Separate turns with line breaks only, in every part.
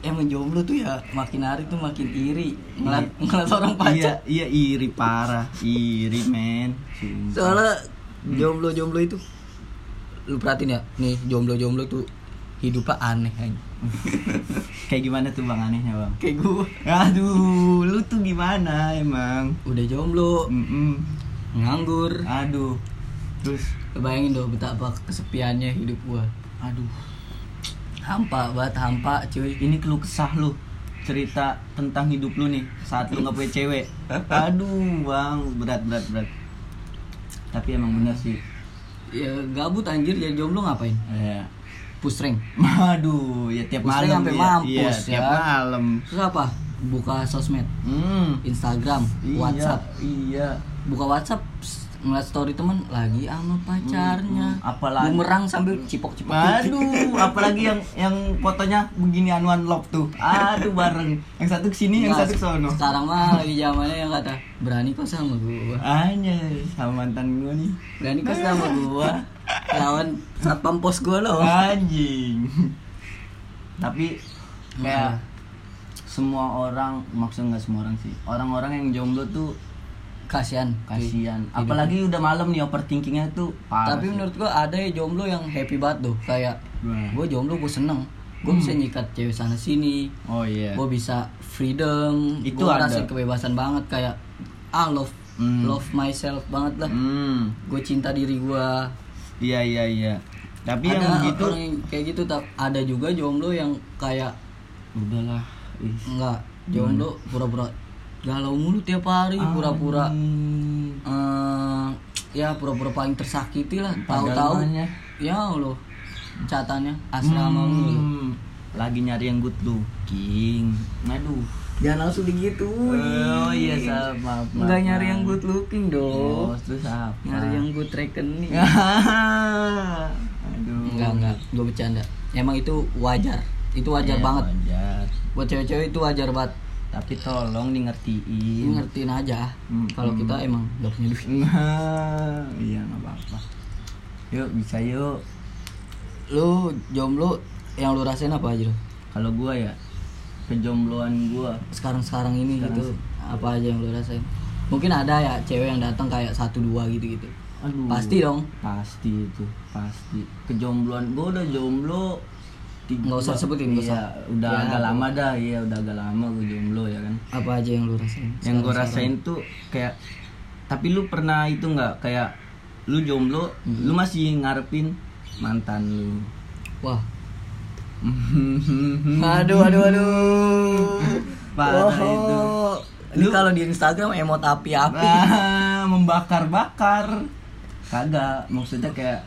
emang jomblo tuh ya makin hari tuh makin iri ngeliat, ngeliat orang pacar
Iya, iya iri parah, iri men. Sumpah.
soalnya jomblo jomblo itu lu perhatiin ya nih jomblo jomblo tuh hidupnya aneh anjing.
kayak gimana tuh bang anehnya bang?
kayak gua
Aduh, lu tuh gimana emang?
udah jomblo
Mm-mm.
nganggur
Aduh, terus
bayangin dong betapa kesepiannya hidup gua
aduh,
hampa banget hampa cuy
ini keluh kesah lu cerita tentang hidup lu nih saat lu nggak punya cewek. Aduh, bang berat berat berat. Tapi emang bener sih.
ya gabut anjir jadi jomblo ngapain
Ya.
pusreng
Aduh, ya tiap
Pusing
malam
sampai
ya.
mampus,
Iya,
ya.
tiap malam.
terus apa buka sosmed
Hmm.
Instagram
Iya,
WhatsApp
Iya.
buka WhatsApp psst, ngeliat story temen lagi sama pacarnya
Hmm, hmm. Apalagi-
bumerang sambil cipok cipok
Aduh, apalagi yang yang fotonya begini anuan love tuh. Aduh bareng. Yang satu kesini, yang satu sono.
sekarang mah lagi zamannya yang kata berani kau sama gua
Anjay, sama mantan gua nih.
berani kau sama gua lawan satpam pos gua loh
Anjing. Tapi
Nah.
kayak semua orang, maksudnya nggak semua orang sih. Orang-orang yang jomblo tuh
kasihan cuy.
kasihan. Apalagi udah malam nih overthinkingnya tuh parah.
Iya. tapi
sih.
menurut gua ada ya jomblo yang happy banget tuh kayak
Gimana?
gua jomblo gua seneng gua bisa
Hmm.
nyikat cewek sana sini
Oh iya.
gue bisa freedom
Itu
gua
ada.
ngerasain kebebasan banget kayak ah love
Hmm.
love myself banget lah
Hmm.
gue cinta diri gue
Iya iya iya. Tapi yang
ada
gitu
orang yang kayak gitu tapi ada juga jomblo yang kayak
udahlah. Ih.
enggak jomblo pura-pura galau mulu tiap hari pura-pura
Anjing.
eh, ya pura-pura paling tersakiti lah tahu-tahu
Padahal maunya.
ya allah catannya asrama
Hmm,
mulu
Lagi nyari yang good looking. Aduh.
jangan langsung digituin
Oh iya sa- maaf. maaf,
nggak nyari
maaf.
yang good looking
Oh,
dong
terus apa?
nyari yang good rekening
Aduh.
Enggak, enggak, gue bercanda. Emang itu wajar, itu wajar
Iya,
banget.
Wajar.
Buat cewek-cewek itu wajar banget.
Tapi tolong di
Ini
ngertiin.
ngertiin aja
Hmm,
kalau
hmm.
kita emang gak punya duit.
Nah, iya nggak apa-apa. Yuk bisa yuk.
Lu jomblo yang lu rasain apa aja lu?
Kalau gua ya kejombloan gua
Sekarang-sekarang ini
Sekarang
gitu, apa aja yang lu rasain? Mungkin ada ya cewek yang datang kayak satu dua gitu-gitu.
Aduh.
Pasti dong.
Pasti itu, pasti. Kejombloan gua udah jomblo tiga-
Nggak usah sebutin, nggak
Iya,
usah.
udah
Ya,
agak
apa.
lama dah, iya udah agak lama gua jomblo ya kan.
Apa aja yang lu rasain?
Yang gua
sekarang-sekarang?
rasain tuh kayak tapi lu pernah itu nggak kayak lu jomblo,
Mhm.
lu masih ngarepin mantan lu.
Wah, aduh, aduh, aduh.
Parah itu.
Ini kalau di Instagram emot api-api.
Ah, membakar-bakar. Kagak, maksudnya kayak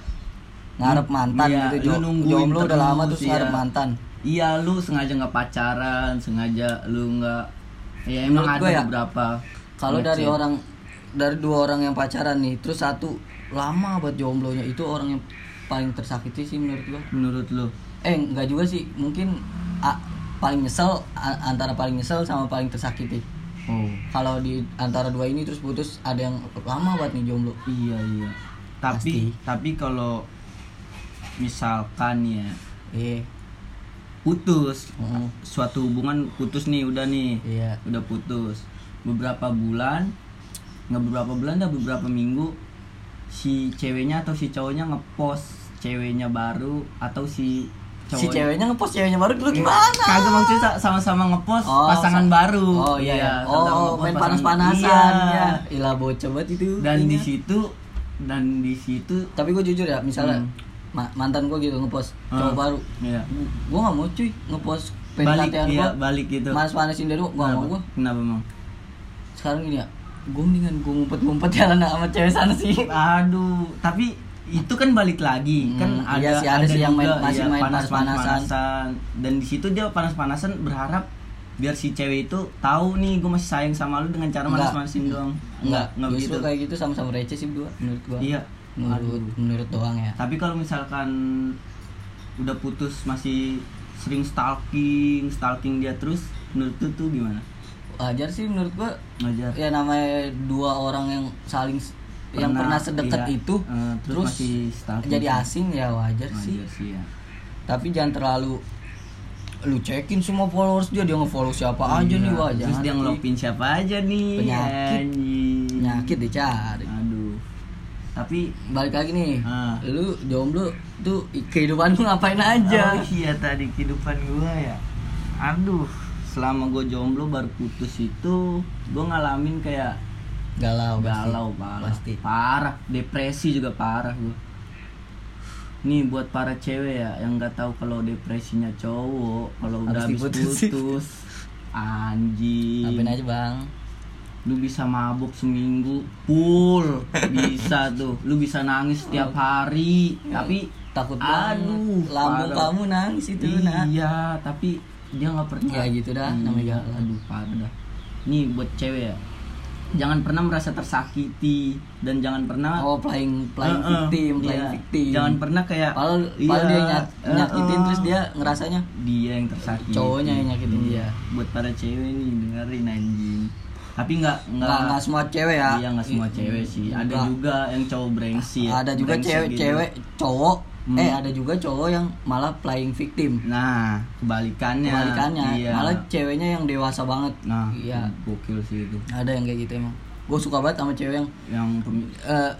ngarep mantan
Iya,
gitu
lu
jo-
nungguin
jomblo udah
terus,
lama terus
iya.
ngarep mantan
Iya, lu sengaja nggak pacaran, sengaja lu nggak. Ya emang
Menurut
ada
gua ya,
beberapa.
kalau
Ngecek.
dari orang dari dua orang yang pacaran nih terus satu lama buat jomblonya itu orang yang paling tersakiti sih menurut gua
menurut lu,
eh nggak juga sih mungkin a- paling nyesel a- antara paling nyesel sama paling tersakiti
oh
kalau di antara dua ini terus putus ada yang lama buat nih jomblo
iya iya. Tapi tapi kalau misalkan ya
iya
putus
Mm.
suatu hubungan putus nih udah nih
iya
udah putus beberapa bulan nggak beberapa bulan dah beberapa minggu si ceweknya atau si cowoknya ngepost ceweknya baru atau si cowok
si ceweknya ngepost ceweknya baru dulu gimana
kagak maksudnya sa- sama-sama ngepost
Oh,
pasangan
sa-
baru
oh iya, iya.
sama-sama
oh
ngepost
main
pasangan-
panas-panasan
Iya.
ya ilah bocah banget itu
dan di
Iya.
situ dan di situ
tapi gue jujur ya misalnya
Hmm.
ma- mantan gue gitu ngepost cowok
Hmm.
baru
Iya.
gue gak mau cuy ngepost
balik
pendekatan
iya,
gue
balik gitu
panas-panasin dari gue gak mau gue
kenapa Mang?
sekarang gini ya gue mendingan gue ngumpet-ngumpet jalan sama cewek sana sih
aduh tapi itu kan balik lagi
Hmm,
kan ada
iya sih, ada sih yang main-
juga,
masih
iya,
main panas-panasan.
panas-panasan. dan di situ dia panas-panasan berharap biar si cewek itu tahu nih gue masih sayang sama lu dengan cara
Enggak.
manas-manasin doang
nggak
enggak enggak
justru
begitu
kayak gitu sama-sama receh sih gue menurut gue
iya
menurut
Aduh.
menurut doang ya
tapi kalau misalkan udah putus masih sering stalking stalking dia terus menurut lu tuh gimana
wajar sih menurut gue
ngajar
ya namanya dua orang yang saling s- yang pernah
Pernah,
sedekat
iya.
itu
Eh, terus gitu. Oh,
terus,
masih stalking. iya
jadi asing ya wajar sih
ngajar sih ya
tapi jangan terlalu lu cekin semua followers dia dia ngefollow siapa aja nih wah
Iya.
jangan
Terus dia ngelopin siapa aja nih.
Penyakit.
anjing.
penyakit dicari
Aduh. Tapi
balik lagi nih
Ah.
lu jomblo tuh i- kehidupan lu ngapain aja
Oh iya tadi kehidupan gua ya. Aduh, selama gua jomblo baru putus itu gua ngalamin kayak
galau pasti.
galau parah.
pasti
Parah, depresi juga parah gua. Nih buat para cewek ya yang nggak tahu kalau depresinya cowok kalau udah
Habis
habis
diputusin.
putus anjing.
ngapain aja bang
lu bisa mabuk seminggu full bisa tuh lu bisa nangis setiap hari tapi
takut banget
aduh
lambung
parah.
kamu nangis itu nah
iya tapi dia nggak pernah Iya.
Ya gitu dah, namanya galau.
aduh parah dah. nih buat cewek ya jangan pernah merasa tersakiti dan jangan pernah
oh playing playing
Eh, eh,
victim playing
iya.
victim
jangan pernah kayak
padahal,
iya,
padahal dia nyat,
eh, eh.
nyakitin terus dia ngerasanya
dia yang tersakiti
Cowoknya yang nyakitin
Iya, buat para cewek nih dengerin anjing tapi nggak
nggak nggak semua cewek ya
Iya nggak semua cewek sih. Ada
Nggak. Ah,
juga yang cowok brengsek.
ada juga
brengsek gitu.
cewek-cewek cowok
Hmm.
eh ada juga cowok yang malah playing victim
Nah kebalikannya.
kebalikannya
Iya.
malah ceweknya yang dewasa banget
Nah
iya
gokil sih itu.
ada yang kayak gitu emang gue suka banget sama cewek yang
Yang pemi-
eh,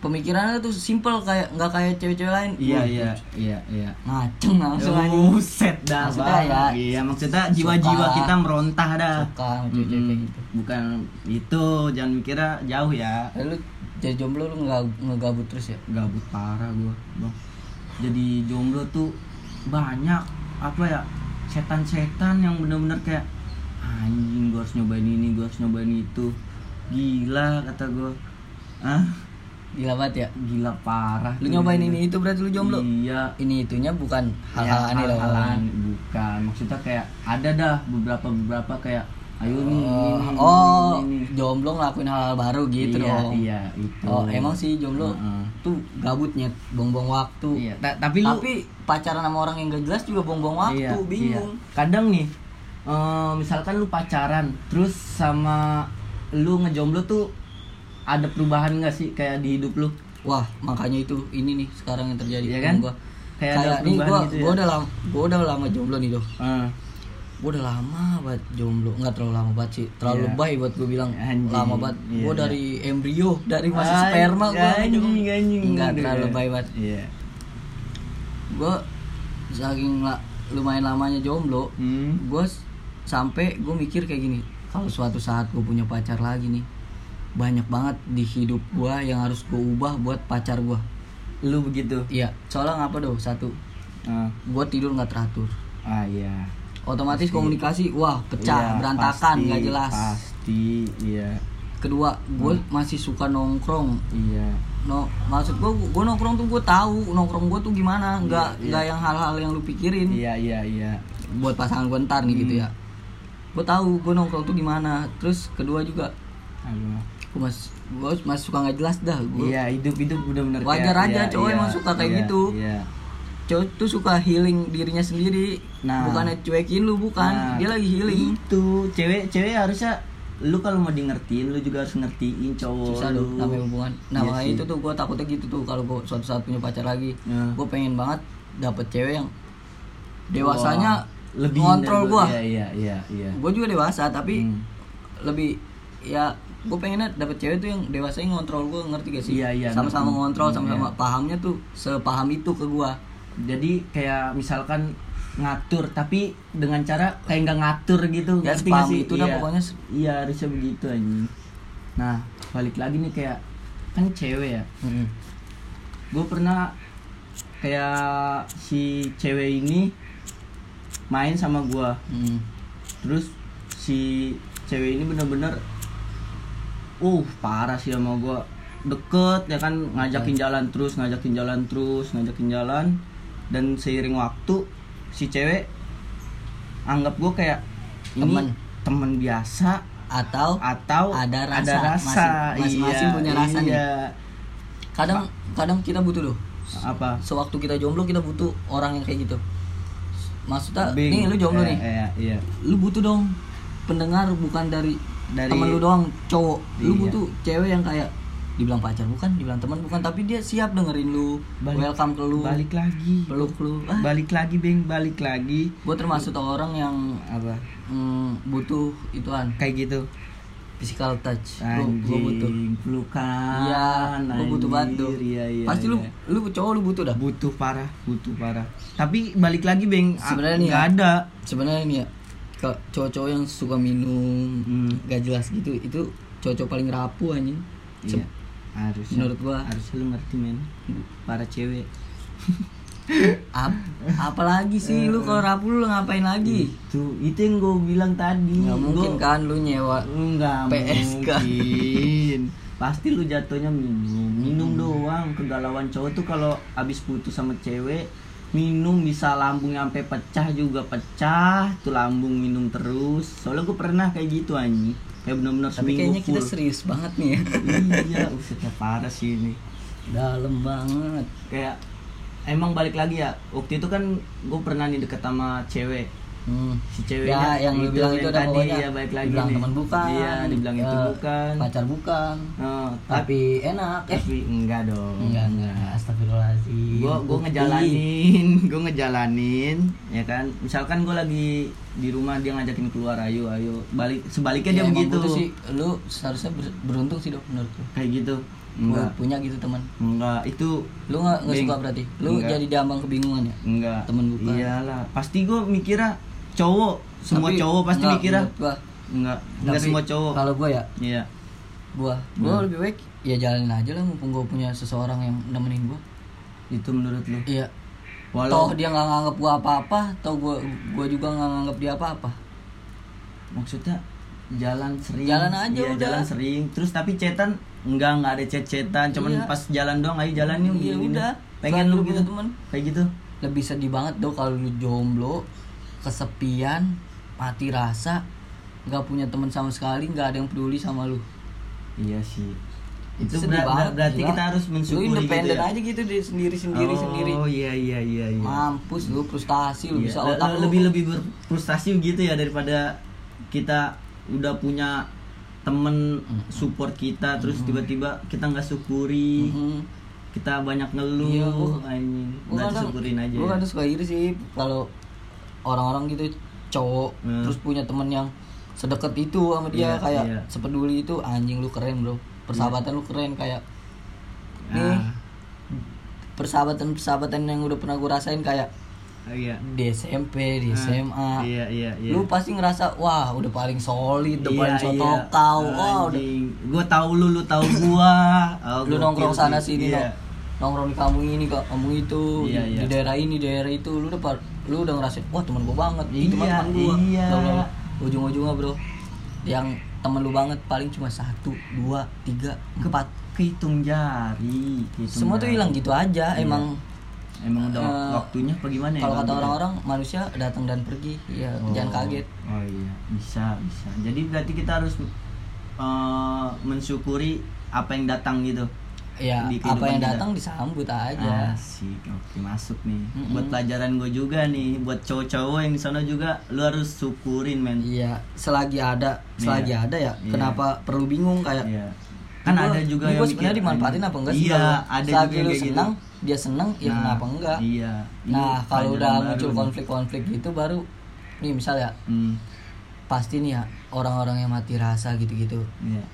pemikirannya tuh simple kayak nggak kayak cewek-cewek lain
Iya
Wah,
iya Ya iya iya.
ngaceng langsung aja
Buset dah
Maksudnya
Bang.
ya,
Iya maksudnya jiwa-jiwa
suka.
kita merontah dah.
suka sama cewek-cewek kayak
Mm-mm.
gitu
Bukan itu jangan mikirnya jauh ya.
Eh, lu jadi jomblo lu nggak ngegabut terus ya
gabut parah gua bang jadi jomblo tuh banyak apa ya setan-setan yang bener-bener kayak anjing gua harus nyobain ini gua harus nyobain itu gila kata gua ah
gila banget ya
gila parah
lu
tuh
nyobain
bener-bener.
ini itu berarti lu jomblo
iya
ini itunya bukan hal-hal
Ya,
aneh loh
hal-halan. bukan maksudnya kayak ada dah beberapa beberapa kayak ayo nih Hmm, ini,
Oh,
nih, ini,
oh,
ini, ini.
jomblo ngelakuin hal-hal baru gitu
iya,
dong.
iya itu
Oh, emang sih jomblo
Heeh.
tuh gabutnya buang-buang waktu.
iya ta- tapi lu
Tapi pacaran sama orang yang gak jelas juga buang-buang waktu,
Iya,
bingung.
iya. Kadang nih, eh, misalkan lu pacaran, terus sama lu ngejomblo tuh ada perubahan nggak sih kayak di hidup lu?
Wah, makanya itu ini nih sekarang yang terjadi
Iya
sama
kan?
gua.
Kayak
Kayak,
ada
nih
perubahan
gua,
gitu ya.
gua udah lama, gua udah lama jomblo nih, Doh.
Eh,
Gua udah lama banget jomblo, nggak terlalu lama banget sih. Terlalu
Iya.
lebay buat gua bilang
Anjing,
lama banget. Gua
iya.
dari embrio, dari masih
anj-
sperma gua
anjing, anjing,
Nggak
aduh,
terlalu
ya.
lebay banget.
Iya.
gue saking la- lumayan lamanya jomblo
Hmm.
gue sampai gue mikir kayak gini kalau suatu saat gue punya pacar lagi nih banyak banget di hidup gue yang harus gue ubah buat pacar gue
Lu begitu.
iya soalnya ngapa doh satu
Eh,
gue tidur nggak teratur
ah iya.
otomatis komunikasi wah pecah
Iya,
berantakan
pasti,
nggak jelas
Pasti, Hmm. iya.
kedua gue masih suka nongkrong
Iya.
no maksud gue gue nongkrong tuh gue tahu nongkrong gue tuh gimana nggak
Iya,
nggak yang hal-hal yang lu pikirin
Iya, Hmm. iya, iya.
buat pasangan gue ntar nih gitu ya gue tahu gue nongkrong tuh gimana terus kedua juga
Aduh.
gue mas gue mas suka nggak jelas dah gue
Iya, hidup hidup bener-bener
Wajar
kayak-
aja,
iya,
cowok
iya,
emang suka kayak
iya,
gitu.
Iya.
cowok tuh suka healing dirinya sendiri
Nah.
bukannya cuekin lu bukan
Nah,
Kan, dia lagi healing
itu cewek cewek harusnya lu kalau mau di ngertiin lu juga harus ngertiin cowok
susah
lu
loh namanya hubungan nah
Iya
makanya
sih.
itu tuh gue takutnya gitu tuh kalau gue suatu saat punya pacar lagi
Nah.
gue pengen banget dapet cewek yang dewasanya
Wah, lebih
ngontrol
dari-
gue
iya iya iya iya
gue juga dewasa tapi
Hmm.
lebih ya gue pengennya dapet cewek tuh yang dewasa yang ngontrol gue ngerti gak sih
Iya, iya,
sama-sama
ngerti.
ngontrol
Hmm,
sama-sama
iya.
pahamnya tuh sepaham itu ke gue
jadi kayak misalkan ngatur tapi dengan cara kayak nggak ngatur gitu
Ya,
ngerti nggak
sepaham
sih
itu dah pokoknya.
iya harusnya begitu anjing nah balik lagi nih kayak kan cewek ya gue pernah kayak si cewek ini main sama gua
Hmm.
terus si cewek ini bener-bener uh parah sih sama gua deket ya kan
Hmm.
ngajakin jalan terus ngajakin jalan terus ngajakin jalan dan seiring waktu si cewek anggap gua kayak ini
Temen.
temen biasa
atau
atau
Ada rasa.
rasa.
Masing- masing-masing
Iya,
punya rasa nih.
iya.
kadang kadang kita butuh loh
apa
sewaktu kita jomblo kita butuh orang yang kayak gitu maksudnya Eh, nih lu jomblo
Iya,
nih
iya, iya.
lu butuh dong pendengar bukan dari
Dari-
temen lu doang cowok lu
Iya.
butuh cewek yang kayak dibilang pacar bukan dibilang teman bukan tapi dia siap dengerin lu
Balik-
welcome ke lu
balik lagi
peluk lu ah,
balik lagi beng balik lagi
gue termasuk orang yang
apa
mm, butuh ituan
kayak gitu
physical touch
anjing
gue butuh
pelukan
iya gue butuh banget
anjir,
tuh
iya, iya,
pasti lu
iya.
lu cowok lu butuh dah
butuh parah butuh parah tapi balik lagi beng a-
Sebenarnya nih
nggak
ya.
ada
sebenarnya ini ya kalau cowok-cowok yang suka minum
Hmm.
gak jelas gitu itu cowok-cowok paling rapuh anjing Se-
iya harus
menurut gua. Hmm.
harus lu ngerti men para cewek
Ap- apalagi sih lu kalau rapuh lu ngapain lagi
itu itu yang gue bilang tadi
nggak mungkin
Gua-
kan lu nyewa
nggak
PSK.
mungkin pasti lu jatuhnya minum minum doang kegalauan cowok tuh kalau abis putus sama cewek minum bisa lambung sampai pecah juga pecah tuh lambung minum terus soalnya gue pernah kayak gitu anjing kayak bener-bener
tapi
seminggu
kayaknya kita
full.
serius banget nih ya
iya usetnya parah sih ini
dalam banget
kayak emang balik lagi ya waktu itu kan gue pernah nih deket sama cewek
hmm.
si
ya
ceweknya
yang lu bilang itu ada
tadi
pokoknya
ya balik lagi
dibilang
nih.
teman bukan
iya dibilang itu
eh,
bukan
pacar bukan
Oh, tapi
tapi enak eh
tapi enggak dong
enggak Iya, enggak astagfirullahaladzim
gue gue ngejalanin gue ngejalanin ya kan misalkan gue lagi di rumah dia ngajakin keluar ayo ayo balik sebaliknya
Ya,
dia
emang
begitu
butuh sih lu seharusnya ber- beruntung sih dok menurut gua.
kayak gitu
Gua
enggak
punya gitu teman
enggak itu
lu nggak nggak
Bing.
suka berarti lu
Enggak.
jadi dambang kebingungan ya
enggak
Temen bukan.
iyalah pasti gue mikirnya cowok semua
Tapi-
cowok pasti ah.
enggak,
mikirnya
menurut gua.
enggak enggak
Tapi
semua cowok Hmm.
kalau gua ya
iya
gua gua lebih baik ya jalanin aja lah mumpung gua punya seseorang yang nemenin gua
itu menurut lu
iya
walau
toh dia nggak nganggap gua apa-apa toh gua gua juga nggak nganggap dia apa-apa
maksudnya jalan sering
Jalan aja
Iya,
udah.
jalan sering terus tapi cetan enggak enggak ada cet-cetan cuman
Iya.
pas jalan doang ayo jalan yuk
Iya,
gini-gini.
udah. Selain
pengen lu
lu
gitu
punya teman.
kayak gitu
lebih sedih banget dong kalau lu jomblo kesepian mati rasa nggak punya teman sama sekali nggak ada yang peduli sama lu
iya sih itu,
Sedih
ber- ber-
banget,
berarti
gila.
kita harus mensyukuri
lu independen
gitu ya?
aja gitu di sendiri sendiri
oh,
sendiri
iya iya iya iya
mampus lu frustasi lu
Iya,
bisa
le-
otak
le-
lu
lebih lebih berprestasi gitu ya daripada kita udah punya temen
Mm-hmm.
support kita terus tiba-tiba kita nggak syukuri
Mhm.
kita banyak
Iya, gua-
ngeluh anjing
Gua
nggak
kadang-
disyukurin aja
gua
ya.
kadang suka iri sih kalau orang-orang gitu cowok
Hmm.
terus punya temen yang sedekat itu sama dia
Iya,
kayak
iya.
sepeduli itu anjing lu keren bro persahabatan lu keren kayak nih
Ah.
persahabatan persahabatan yang udah pernah gue rasain kayak
Oh, iya.
di SMP di SMA
Iya iya iya.
lu pasti ngerasa wah udah paling solid udah
Iya,
paling
iya.
soto kau wah udah
Anjing. Gua tahu lu, lu tahu gua. Oh,
lu
gokil
nongkrong
sih.
sana sini
Iya.
nong- nongkrong di kampung ini ke kampung itu
Iya,
di,
iya.
di daerah ini daerah itu lu udah par- lu udah ngerasain wah teman gua banget ini teman
Iya,
teman gua
iya.
Bla, bla, bla. ujung-ujungnya bro yang temen lu banget paling cuma satu dua tiga empat
Kehitung jari. kehitung
semua tuh
jari.
hilang gitu aja
Iya.
emang
Emang udah
Eh,
waktunya apa gimana ya?
kalau kata
Bang?
orang-orang manusia datang dan pergi ya
Oh.
jangan kaget
Oh iya, bisa bisa. Jadi berarti kita harus eh, mensyukuri apa yang datang gitu.
ya
Di kehidupan
apa yang
kita. Ah.
datang disambut aja
Asik, oke masuk nih.
Mm-mm.
Buat pelajaran gue juga nih, buat cowok-cowok yang di sana juga, lu harus syukurin men.
iya selagi ada selagi
Iya.
ada ya
Iya.
kenapa perlu bingung kayak
Iya. Kan
Gua-
ada
gua
juga yang
sebenarnya
mikir,
dimanfaatin
"Anjing,
apa enggak sih
Iya,
kalau selagi
ada juga yang
lu
kayak
senang
gitu.
dia senang ya
Nah,
kenapa enggak
Iya. Ini
nah kalau
pelajaran
udah
baru
muncul
nih.
konflik-konflik gitu baru nih misalnya
Hmm.
pasti nih ya orang-orang yang mati rasa gitu-gitu
Iya.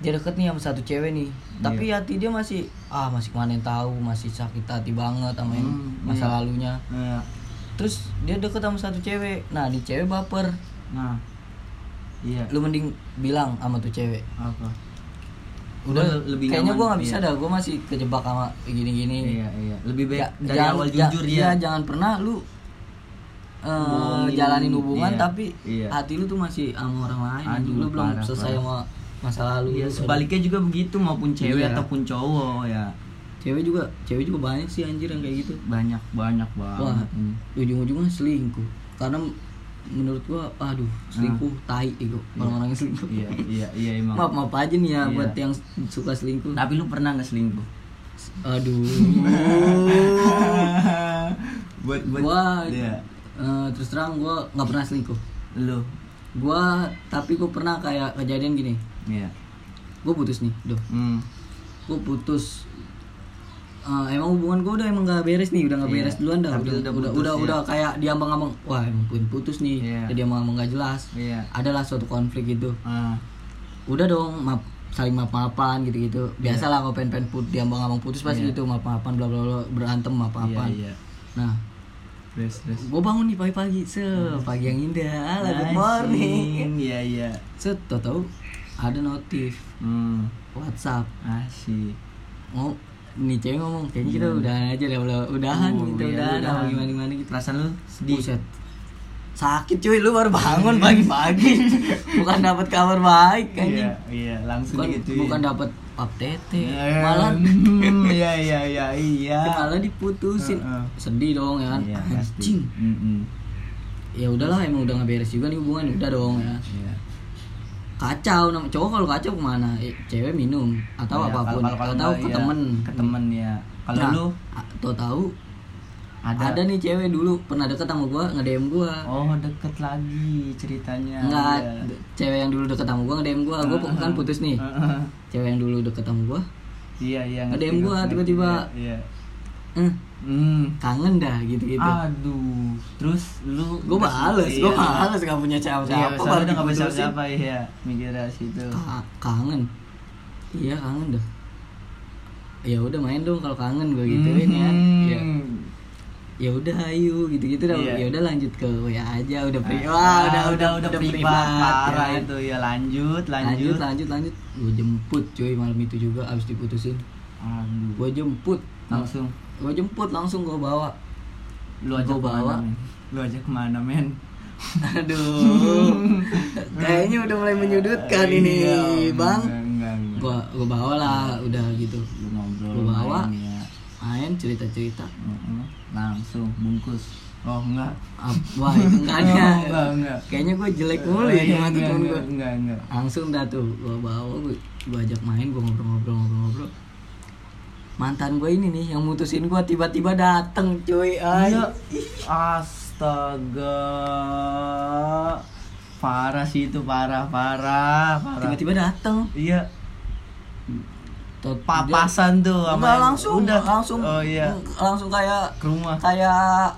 dia deket nih sama satu cewek nih tapi hati dia masih ah masih mana yang tahu masih sakit hati banget sama yang
Hmm,
masa
iya.
lalunya
Iya.
terus dia deket sama satu cewek nah di cewek baper
Nah. Iya.
lu mending bilang sama tuh cewek
Apa?
udah
Gua lebih
kayaknya
nyaman,
gue nggak bisa
iya.
dah gue masih kejebak sama gini-gini
Iya, iya. Lebih baik
Ja-
dari
jangan-
awal
ja-
jujur
iya,
ya.
jangan pernah lu eh,
Bohongin,
jalanin hubungan
iya,
tapi
iya.
hati lu tuh masih sama orang lain
Aduh,
lu belum
parah,
selesai
parah.
sama masa lalu
Iya,
Lu-
sebaliknya juga begitu maupun cewek
Iya.
ataupun cowok ya.
cewek juga cewek juga banyak sih anjir yang kayak gitu
Banyak banyak
wah
banget. Hmm. ini.
ujung-ujungnya selingkuh karena menurut gua aduh selingkuh tai ego orang-orang yang selingkuh
Hmm. Iya, iya, iya emang.
maaf maaf aja nih ya
Iya.
buat yang suka selingkuh
Tapi lu pernah nggak selingkuh?
aduh
buat buat
gua
iya.
eh, terus terang gua nggak pernah selingkuh
lu.
gua tapi gua pernah kayak kejadian gini
Iya.
gue putus nih doh
Hmm.
gue putus Eh, emang hubungan gue udah emang gak beres nih udah gak
Iya.
beres duluan dah
Tapi
udah udah
udah
udah,
putus,
udah,
iya.
kayak diambang-ambang wah emang pun putus nih
Iya.
jadi ambang-ambang gak jelas
Iya.
adalah suatu konflik gitu
Ah,
udah dong maaf saling maaf-maafan gitu-gitu biasalah kalau pengen-pengen put diambang-ambang putus pasti
Iya.
gitu maaf-maafan bla bla bla berantem maaf-maafan
Iya, iya.
nah
Terus, terus.
gue bangun nih pagi-pagi se pagi yang indah lah good morning
Asing, Iya, iya.
set tau tau ada notif
Hmm,
WhatsApp
asik.
ngom nih cewek ngomong kayaknya kita udahan aja deh udah udahan
Oh,
gitu
Hmm. iya,
udahan
udahan.
apa gimana gimana gitu
Perasaan lu sedih.
Buset. sakit cuy lu baru bangun pagi-pagi bukan dapat kabar baik anjing
Iya, iya, langsung
bukan,
gitu.
bukan iya. dapat pap tete
Eh,
malah
hmm, iya, iya, iya, iya.
malah diputusin
Heeh.
sedih dong ya kan
Iya, pasti.
anjing
Mm-mm.
ya udahlah emang udah nggak beres juga nih hubungan udah dong ya
Iya.
kacau nam- cowok kalau kacau kemana Eh, cewek minum atau
Iya,
apapun
kalau- kalau
atau
enggak,
ke
iya,
temen
Ke temen ya. Kalau
Nah,
lu
a- tau tahu
ada,
ada. nih cewek dulu pernah deket sama gua nge DM gua
Oh, deket lagi ceritanya.
enggak
Iya. Ah,
d- cewek yang dulu deket sama gua nge DM gua gua
Heeh.
kan putus nih
Heeh.
cewek yang dulu deket sama gua
Iya, iya.
Ada
ngerti,
yang gua
ngerti,
tiba-tiba.
Iya. iya.
eh
Hmm.
kangen dah gitu gitu
Ah, Aduh, terus lu
gua males gua males gak punya siapa
Iya,
siapa
soalnya udah nggak bisa
diputusin. Ah,
siapa ya, mikirnya situ.
Ka- kangen iya kangen dah ya udah main dong kalau kangen gue gituin ya ya ya udah ayo gitu gitu dah
Hmm. Iya.
ya udah lanjut ke ya aja udah pri
Wah,
wah udah udah
Ah, udah, privat, parah
parah
itu ya lanjut,
lanjut
lanjut.
lanjut lanjut gue jemput cuy malam itu juga abis diputusin
Aduh,
gue jemput
langsung
gue jemput langsung gue bawa
lu aja
Gua
kemana,
bawa.
men? Lu aja kemana, men?
aduh kayaknya udah mulai menyudutkan ini
Iya,
bang
enggak, enggak, enggak.
gue gue bawa lah udah gitu
lu ngobrol
Gua bawa.
main ya.
main cerita cerita
Mm-mm. Langsung bungkus. Oh, enggak.
wah itu enggak ada
Oh, enggak, enggak.
kayaknya gue jelek mulu ya
Iya,
sama temen
enggak,
gue
enggak, enggak, enggak.
langsung dah tuh gue bawa gue ajak main gue ngobrol-ngobrol-ngobrol-ngobrol mantan gue ini nih yang mutusin gue tiba-tiba dateng cuy ay
Iya. Astaga. Parah sih itu parah parah parah.
tiba-tiba dateng
Iya.
Tot-
Papasan tuh
udah,
sama
Enggak,
yang-
langsung
udah
langsung Hmm.
Oh iya.
langsung kayak
Ke rumah
kayak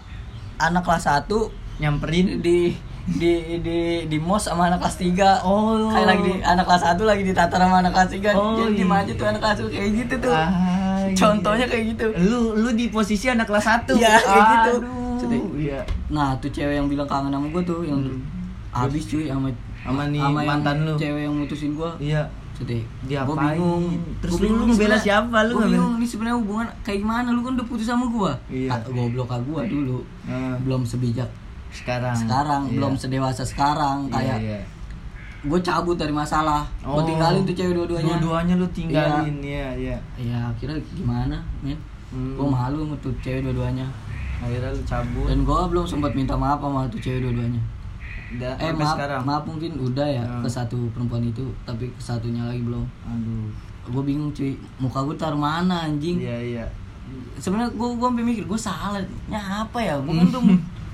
anak kelas 1
nyamperin
di di di di mos sama anak kelas 3
Oh.
kayak lagi di, anak kelas 1 lagi ditatar sama anak kelas 3
Oh,
jadi
iya.
maju tuh anak kelas 1 kayak gitu tuh
Ah, iya.
contohnya kayak gitu
Lu lu di posisi anak kelas 1.
Iya, kayak gitu. Sedih.
Aduh. Iya.
Nah tuh cewek yang bilang kangen sama gue tuh yang habis cuy sama
Sama Hmm. nih
yang
mantan lu.
Cewek yang mutusin gue.
Iya.
Sedih.
Dia
Gua
apain?
bingung.
Terus
Gua
lu-
bingung
lu ngebela
sebenarnya-
siapa? Lu
Gua
ngebela-
bingung nih sebenarnya hubungan kayak gimana? Lu kan udah putus sama gue.
Iya.
goblok ah gue dulu.
Eh,
Belum sebijak
sekarang.
sekarang,
Iya.
belum sedewasa sekarang.
Iya,
Kayak
iya.
gue cabut dari masalah.
Oh.
Gue tinggalin tuh cewek dua-duanya. Iya.
Dua-duanya lu tinggalin ya, ya.
Ya akhirnya gimana, men?
Hmm.
Gue malu sama tuh cewek dua-duanya.
Akhirnya lu cabut.
Dan gue belum sempat minta maaf sama tuh cewek dua-duanya.
Da-
eh
sampai
maaf,
sekarang.
maaf mungkin udah ya
Hmm.
ke satu perempuan itu tapi ke satunya lagi belum
Aduh.
gue bingung cuy muka gue taruh mana anjing
Iya iya.
sebenarnya gue gue sampai mikir gue salah nya apa ya gue kan
Hmm.
udah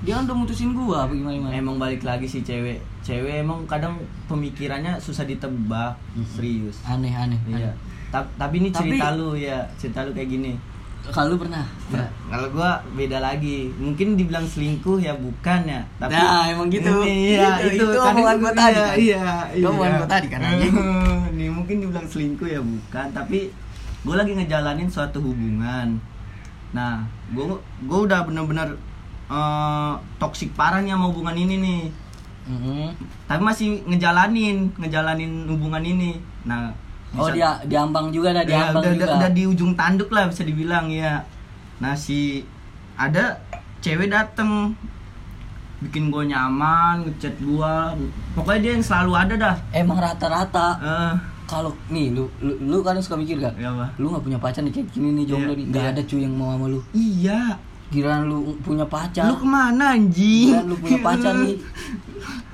dia kan udah mutusin gue apa gimana gimana
Emang balik lagi sih cewek. Cewek emang kadang pemikirannya susah ditebak, serius.
aneh aneh, aneh.
Iya. Ta- tapi ini
Mhm. Tapi-
cerita lu ya, cerita lu kayak gini.
kalau lu pernah
Nah, kalau gua beda lagi. Mungkin dibilang selingkuh ya bukan ya, tapi
Nah, emang gitu.
Ini, iya,
Gitu,
itu,
itu
tadi
omongan gua
gua-
tadi,
Iya,
kan?
iya.
Itu omongan
iya.
gua tadi, kan, anjing.
Nih, mungkin dibilang selingkuh ya bukan, tapi gua lagi ngejalanin suatu hubungan. Nah, gua gua udah bener-bener eh, toksik parah nih sama hubungan ini nih.
Mm-mm.
Tapi masih ngejalanin, ngejalanin hubungan ini. Nah,
oh
bisa-
dia diambang juga dah
Ya,
diambang
udah,
juga
udah, udah di ujung tanduk lah bisa dibilang ya. Nah si ada cewek dateng bikin gue nyaman, ngechat gue, pokoknya dia yang selalu ada dah.
emang rata-rata
Eh,
kalau nih lu, lu lu kadang suka mikir gak
ya apa?
lu nggak punya pacar nih kayak gini nih jomblo
Iya,
nih nggak
iya.
ada cuy yang mau sama lu
Iya.
Giliran lu punya pacar
Lu kemana anjing?
Giliran lu punya pacar nih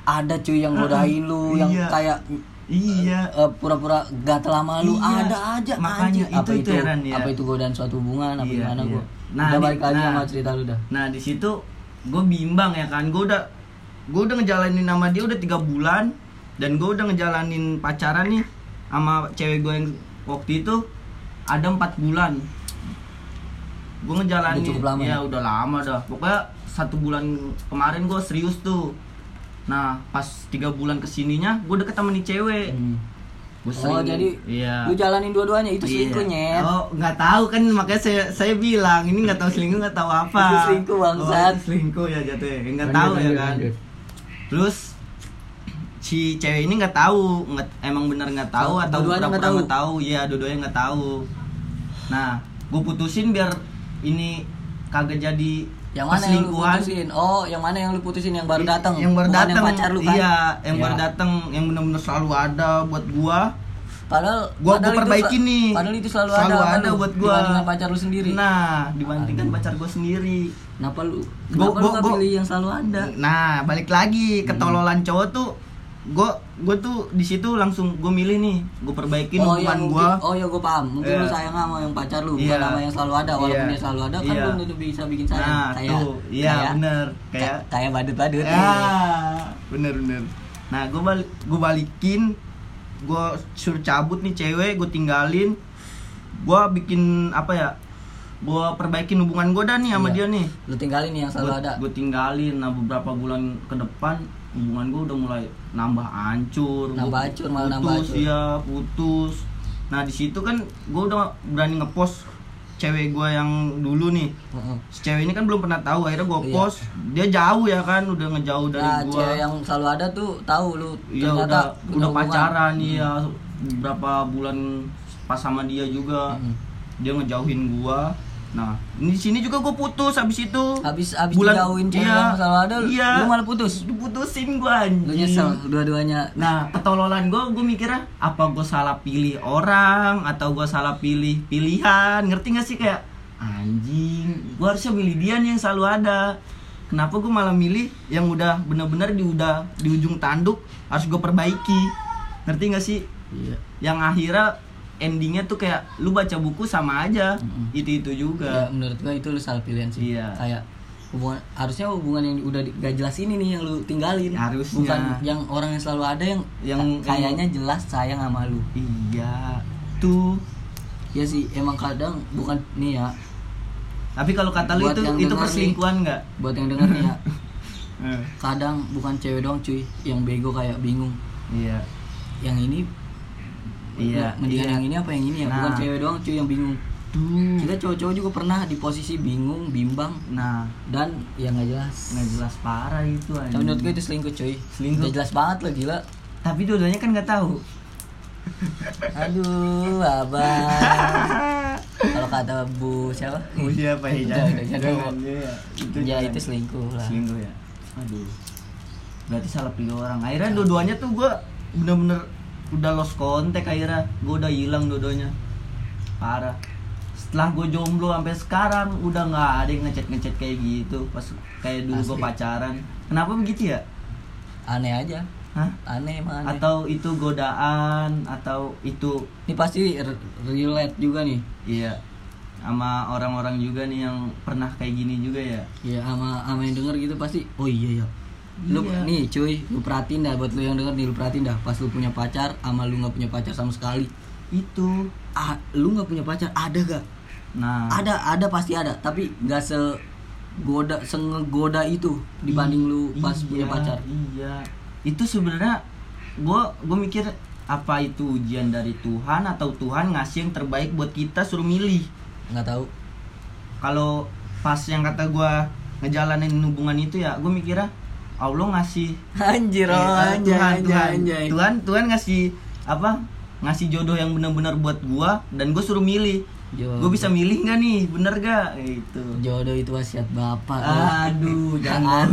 ada cuy yang godain lu yang
Iya.
kayak
Iya.
eh, pura-pura gatel sama lu
Iya.
ada aja
Makanya
anjing.
itu-
apa
itu heran ya.
apa itu godaan suatu hubungan apa
Iya,
gimana
iya.
gua
Nah,
udah
di-
balik lagi
nah.
sama cerita lu dah
Nah di situ gue bimbang ya kan, gue udah gue udah ngejalanin nama dia udah tiga bulan dan gue udah ngejalanin pacaran nih sama cewek gue yang waktu itu ada empat bulan gue ngejalanin
Udah cukup lama
ya
ya?
udah lama dah pokoknya satu bulan kemarin gue serius tuh nah pas tiga bulan kesininya gue deket sama nih cewek
Hmm.
gue
Oh jadi
iya
lu jalanin dua-duanya itu
Iya.
selingkuh nyet.
Oh, nggak tahu kan makanya saya saya bilang ini nggak tahu selingkuh nggak tahu apa.
Itu selingkuh, bangsat.
Oh, selingkuh ya jatuhnya. Ya, Nggak
Lanjut,
tahu ya
lanjut,
kan.
lanjut.
Terus si cewek ini nggak tahu, nggak emang bener nggak tahu
Oh,
atau
dua-duanya nggak
pura-pura
tahu?
nggak tahu. Iya, dua-duanya nggak tahu. Nah, gue putusin biar ini kagak jadi
Yang mana yang lu
perselingkuhan.
putusin? Oh, yang mana yang lu putusin yang baru datang?
Yang baru
Bukan
datang.
Yang pacar lu kan?
Iya, yang baru
Iya.
datang yang bener-bener selalu ada buat gua.
Padahal
gua
padahal
gua
itu
perbaiki
sel-
nih
Padahal itu selalu,
ada,
ada, kan lu?
buat gua
Dibandingkan pacar lu sendiri.
nah dibandingkan pacar gua sendiri
Kenapa lu?
Gua-
Kenapa lu
gua-
gak
gua-
pilih yang selalu ada?
nah balik lagi
Hmm.
ketololan cowok tuh gua gua tuh di situ langsung gua milih nih gua perbaikin
oh iya
hubungan
mungkin,
gua
oh iya gue paham. Mungkin lu
Iya.
sayang sama yang pacar lu, bukan
Iya.
sama yang selalu ada. Walaupun
Iya.
dia selalu ada, kan
Iya.
lu udah bisa bikin sayang. ya.
nah
kayak,
tuh iya
kayak,
bener
kayak,
kayak
kayak badut-badut.
ya bener bener nah gua balik gua balikin gua suruh cabut nih cewek gua tinggalin gua bikin apa ya gua perbaikin hubungan gua dah nih sama
Iya.
dia nih
Lu tinggalin nih yang selalu ada.
gue tinggalin nah beberapa bulan ke depan hubungan gue udah mulai nambah hancur
Nambah
Gua
hancur, malah nambah
putus
hancur.
ya putus nah di situ kan gue udah berani ngepost cewek gue yang dulu nih
Heeh.
Si cewek ini kan belum pernah tahu akhirnya gue
Iya.
post dia jauh ya kan udah ngejauh dari
Nah,
gue
cewek yang selalu ada tuh tahu lu ternyata
iya udah
punya
udah
hubungan.
pacaran iya
Hmm.
berapa bulan pas sama dia juga
Mm.
dia ngejauhin gua nah di sini juga gue putus habis itu
Habis habis
Bulan-
dijauhin cewek
iya,
yang selalu ada, lu-
iya.
lu malah putus.
diputusin gua anjing.
Lu nyesel dua-duanya.
Nah, ketololan gua gua mikirnya apa gua salah pilih orang atau gua salah pilih pilihan. Ngerti gak sih kayak anjing, gua harusnya milih dia nih yang selalu ada. Kenapa gua malah milih yang udah bener-bener di udah di ujung tanduk harus gua perbaiki. Ngerti gak sih?
Iya.
Yang akhirnya endingnya tuh kayak lu baca buku sama aja.
Mm-mm.
Itu-itu
Ya,
juga.
menurut gua itu lu salah pilihan sih.
Iya.
Kayak hubungan harusnya hubungan yang udah di- gak jelas ini nih yang lu tinggalin.
Harusnya.
Bukan yang orang yang selalu ada yang yang
Yang-
kayaknya jelas sayang sama lu.
Iya. Tuh.
Ya sih, emang kadang bukan nih ya
Tapi kalau kata lu
Buat
itu
yang
itu
denger nih.
perselingkuhan nggak?
buat yang denger nih ya.
Eh,
Kadang bukan cewek doang cuy yang bego kayak bingung.
Iya.
Yang ini eh,
Iya.
mendingan yang ini apa yang ini ya? Bukan
Nah. Hmm.
cewek doang cuy yang bingung.
Tuh.
Kita cowok-cowok juga pernah di posisi bingung, bimbang
Nah,
dan yang nggak jelas.
nggak jelas parah itu
Tapi
aja.
menurut gue itu selingkuh cuy.
Selingkuh.
Nggak jelas banget lo gila.
Tapi dua-duanya kan nggak tahu.
Aduh, abang. Kalau kata Bu siapa?
Mau
iya,
siapa ya?
Udah, udah, jangan.
Jangan, ya. Itu
ya
jangan.
itu selingkuh lah.
selingkuh ya. Aduh. Berarti salah pilih orang. Akhirnya dua-duanya tuh gua bener-bener udah lost kontak akhirnya. Gua udah hilang dua-duanya. Parah. Setelah gue jomblo sampai sekarang udah nggak ada yang ngechat-ngechat kayak gitu pas kayak dulu gue
Asli.
pacaran. Kenapa begitu ya?
Aneh aja.
Hah?
Aneh emang aneh.
Atau itu godaan atau itu
Ini pasti r- relate juga nih.
Iya sama orang-orang juga nih yang pernah kayak gini juga ya
Ya sama sama yang denger gitu pasti. Oh iya ya. Lu
Iya.
nih cuy, lu perhatiin dah buat lu yang denger nih lu perhatiin dah pas lu punya pacar sama lu nggak punya pacar sama sekali.
itu
Ah, lu nggak punya pacar ada gak?
nah
Ada, ada pasti ada, tapi nggak se goda sengegoda itu dibanding lu pas
Iya,
punya pacar.
iya itu sebenarnya gua gua mikir apa itu ujian dari Tuhan atau Tuhan ngasih yang terbaik buat kita suruh milih
Nggak tahu.
kalau pas yang kata gua ngejalanin hubungan itu ya gua mikirnya Allah ngasih
Anjir,
Eh,
oh,
eh,
anjay,
Tuhan,
anjay,
Tuhan,
anjay.
Tuhan, Tuhan ngasih apa? Ngasih jodoh yang benar-benar buat gua dan gua suruh milih.
Jodoh.
Gua bisa milih nggak nih, bener gak? Itu.
Jodoh itu wasiat bapak.
Aduh, jangan,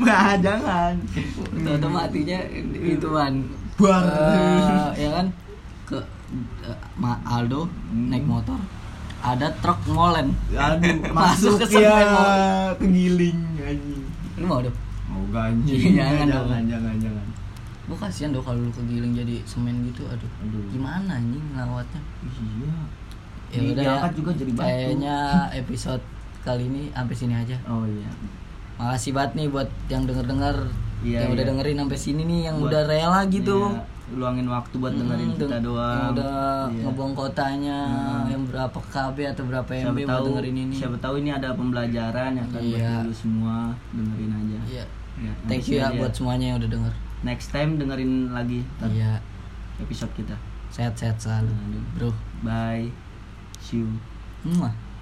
Bah, jangan.
Toto matinya ituan.
Buar.
Eh, ya kan? Ke eh, Ma Aldo
Hmm.
naik motor. Ada truk ngolen.
Aduh,
Masuk
masuk
ke
ya,
segmen mau-
kegiling anjing.
Lu mau dong?
Oh, anjing.
Jangan
jangan,
dong.
jangan, jangan, jangan.
Lu kasihan dong kalau lu kegiling jadi semen gitu, aduh.
Aduh.
Gimana anjing ngelawatnya?
Iya.
ya
Di-
udah
diangkat
ya.
juga jadi batu.
kayaknya episode kali ini sampai sini aja
Oh iya.
makasih banget nih buat yang denger dengar
Iya,
yang udah
iya.
dengerin sampai sini nih yang
Buat-
udah rela gitu
Iya, luangin waktu buat dengerin
Mm,
kita
deng- yang
doang
udah
Iya.
ngebong kotanya
Hmm.
yang berapa KB atau berapa MB
siapa
buat
tahu
dengerin ini
siapa tahu ini ada pembelajaran yang akan buat
Iya.
lu semua dengerin aja
Iya.
Ya,
thank
next
you ya
aja.
buat semuanya yang udah denger
next time dengerin lagi tar-
iya
episode kita
sehat-sehat selalu
Aduh.
bro
bye see you
Mwah.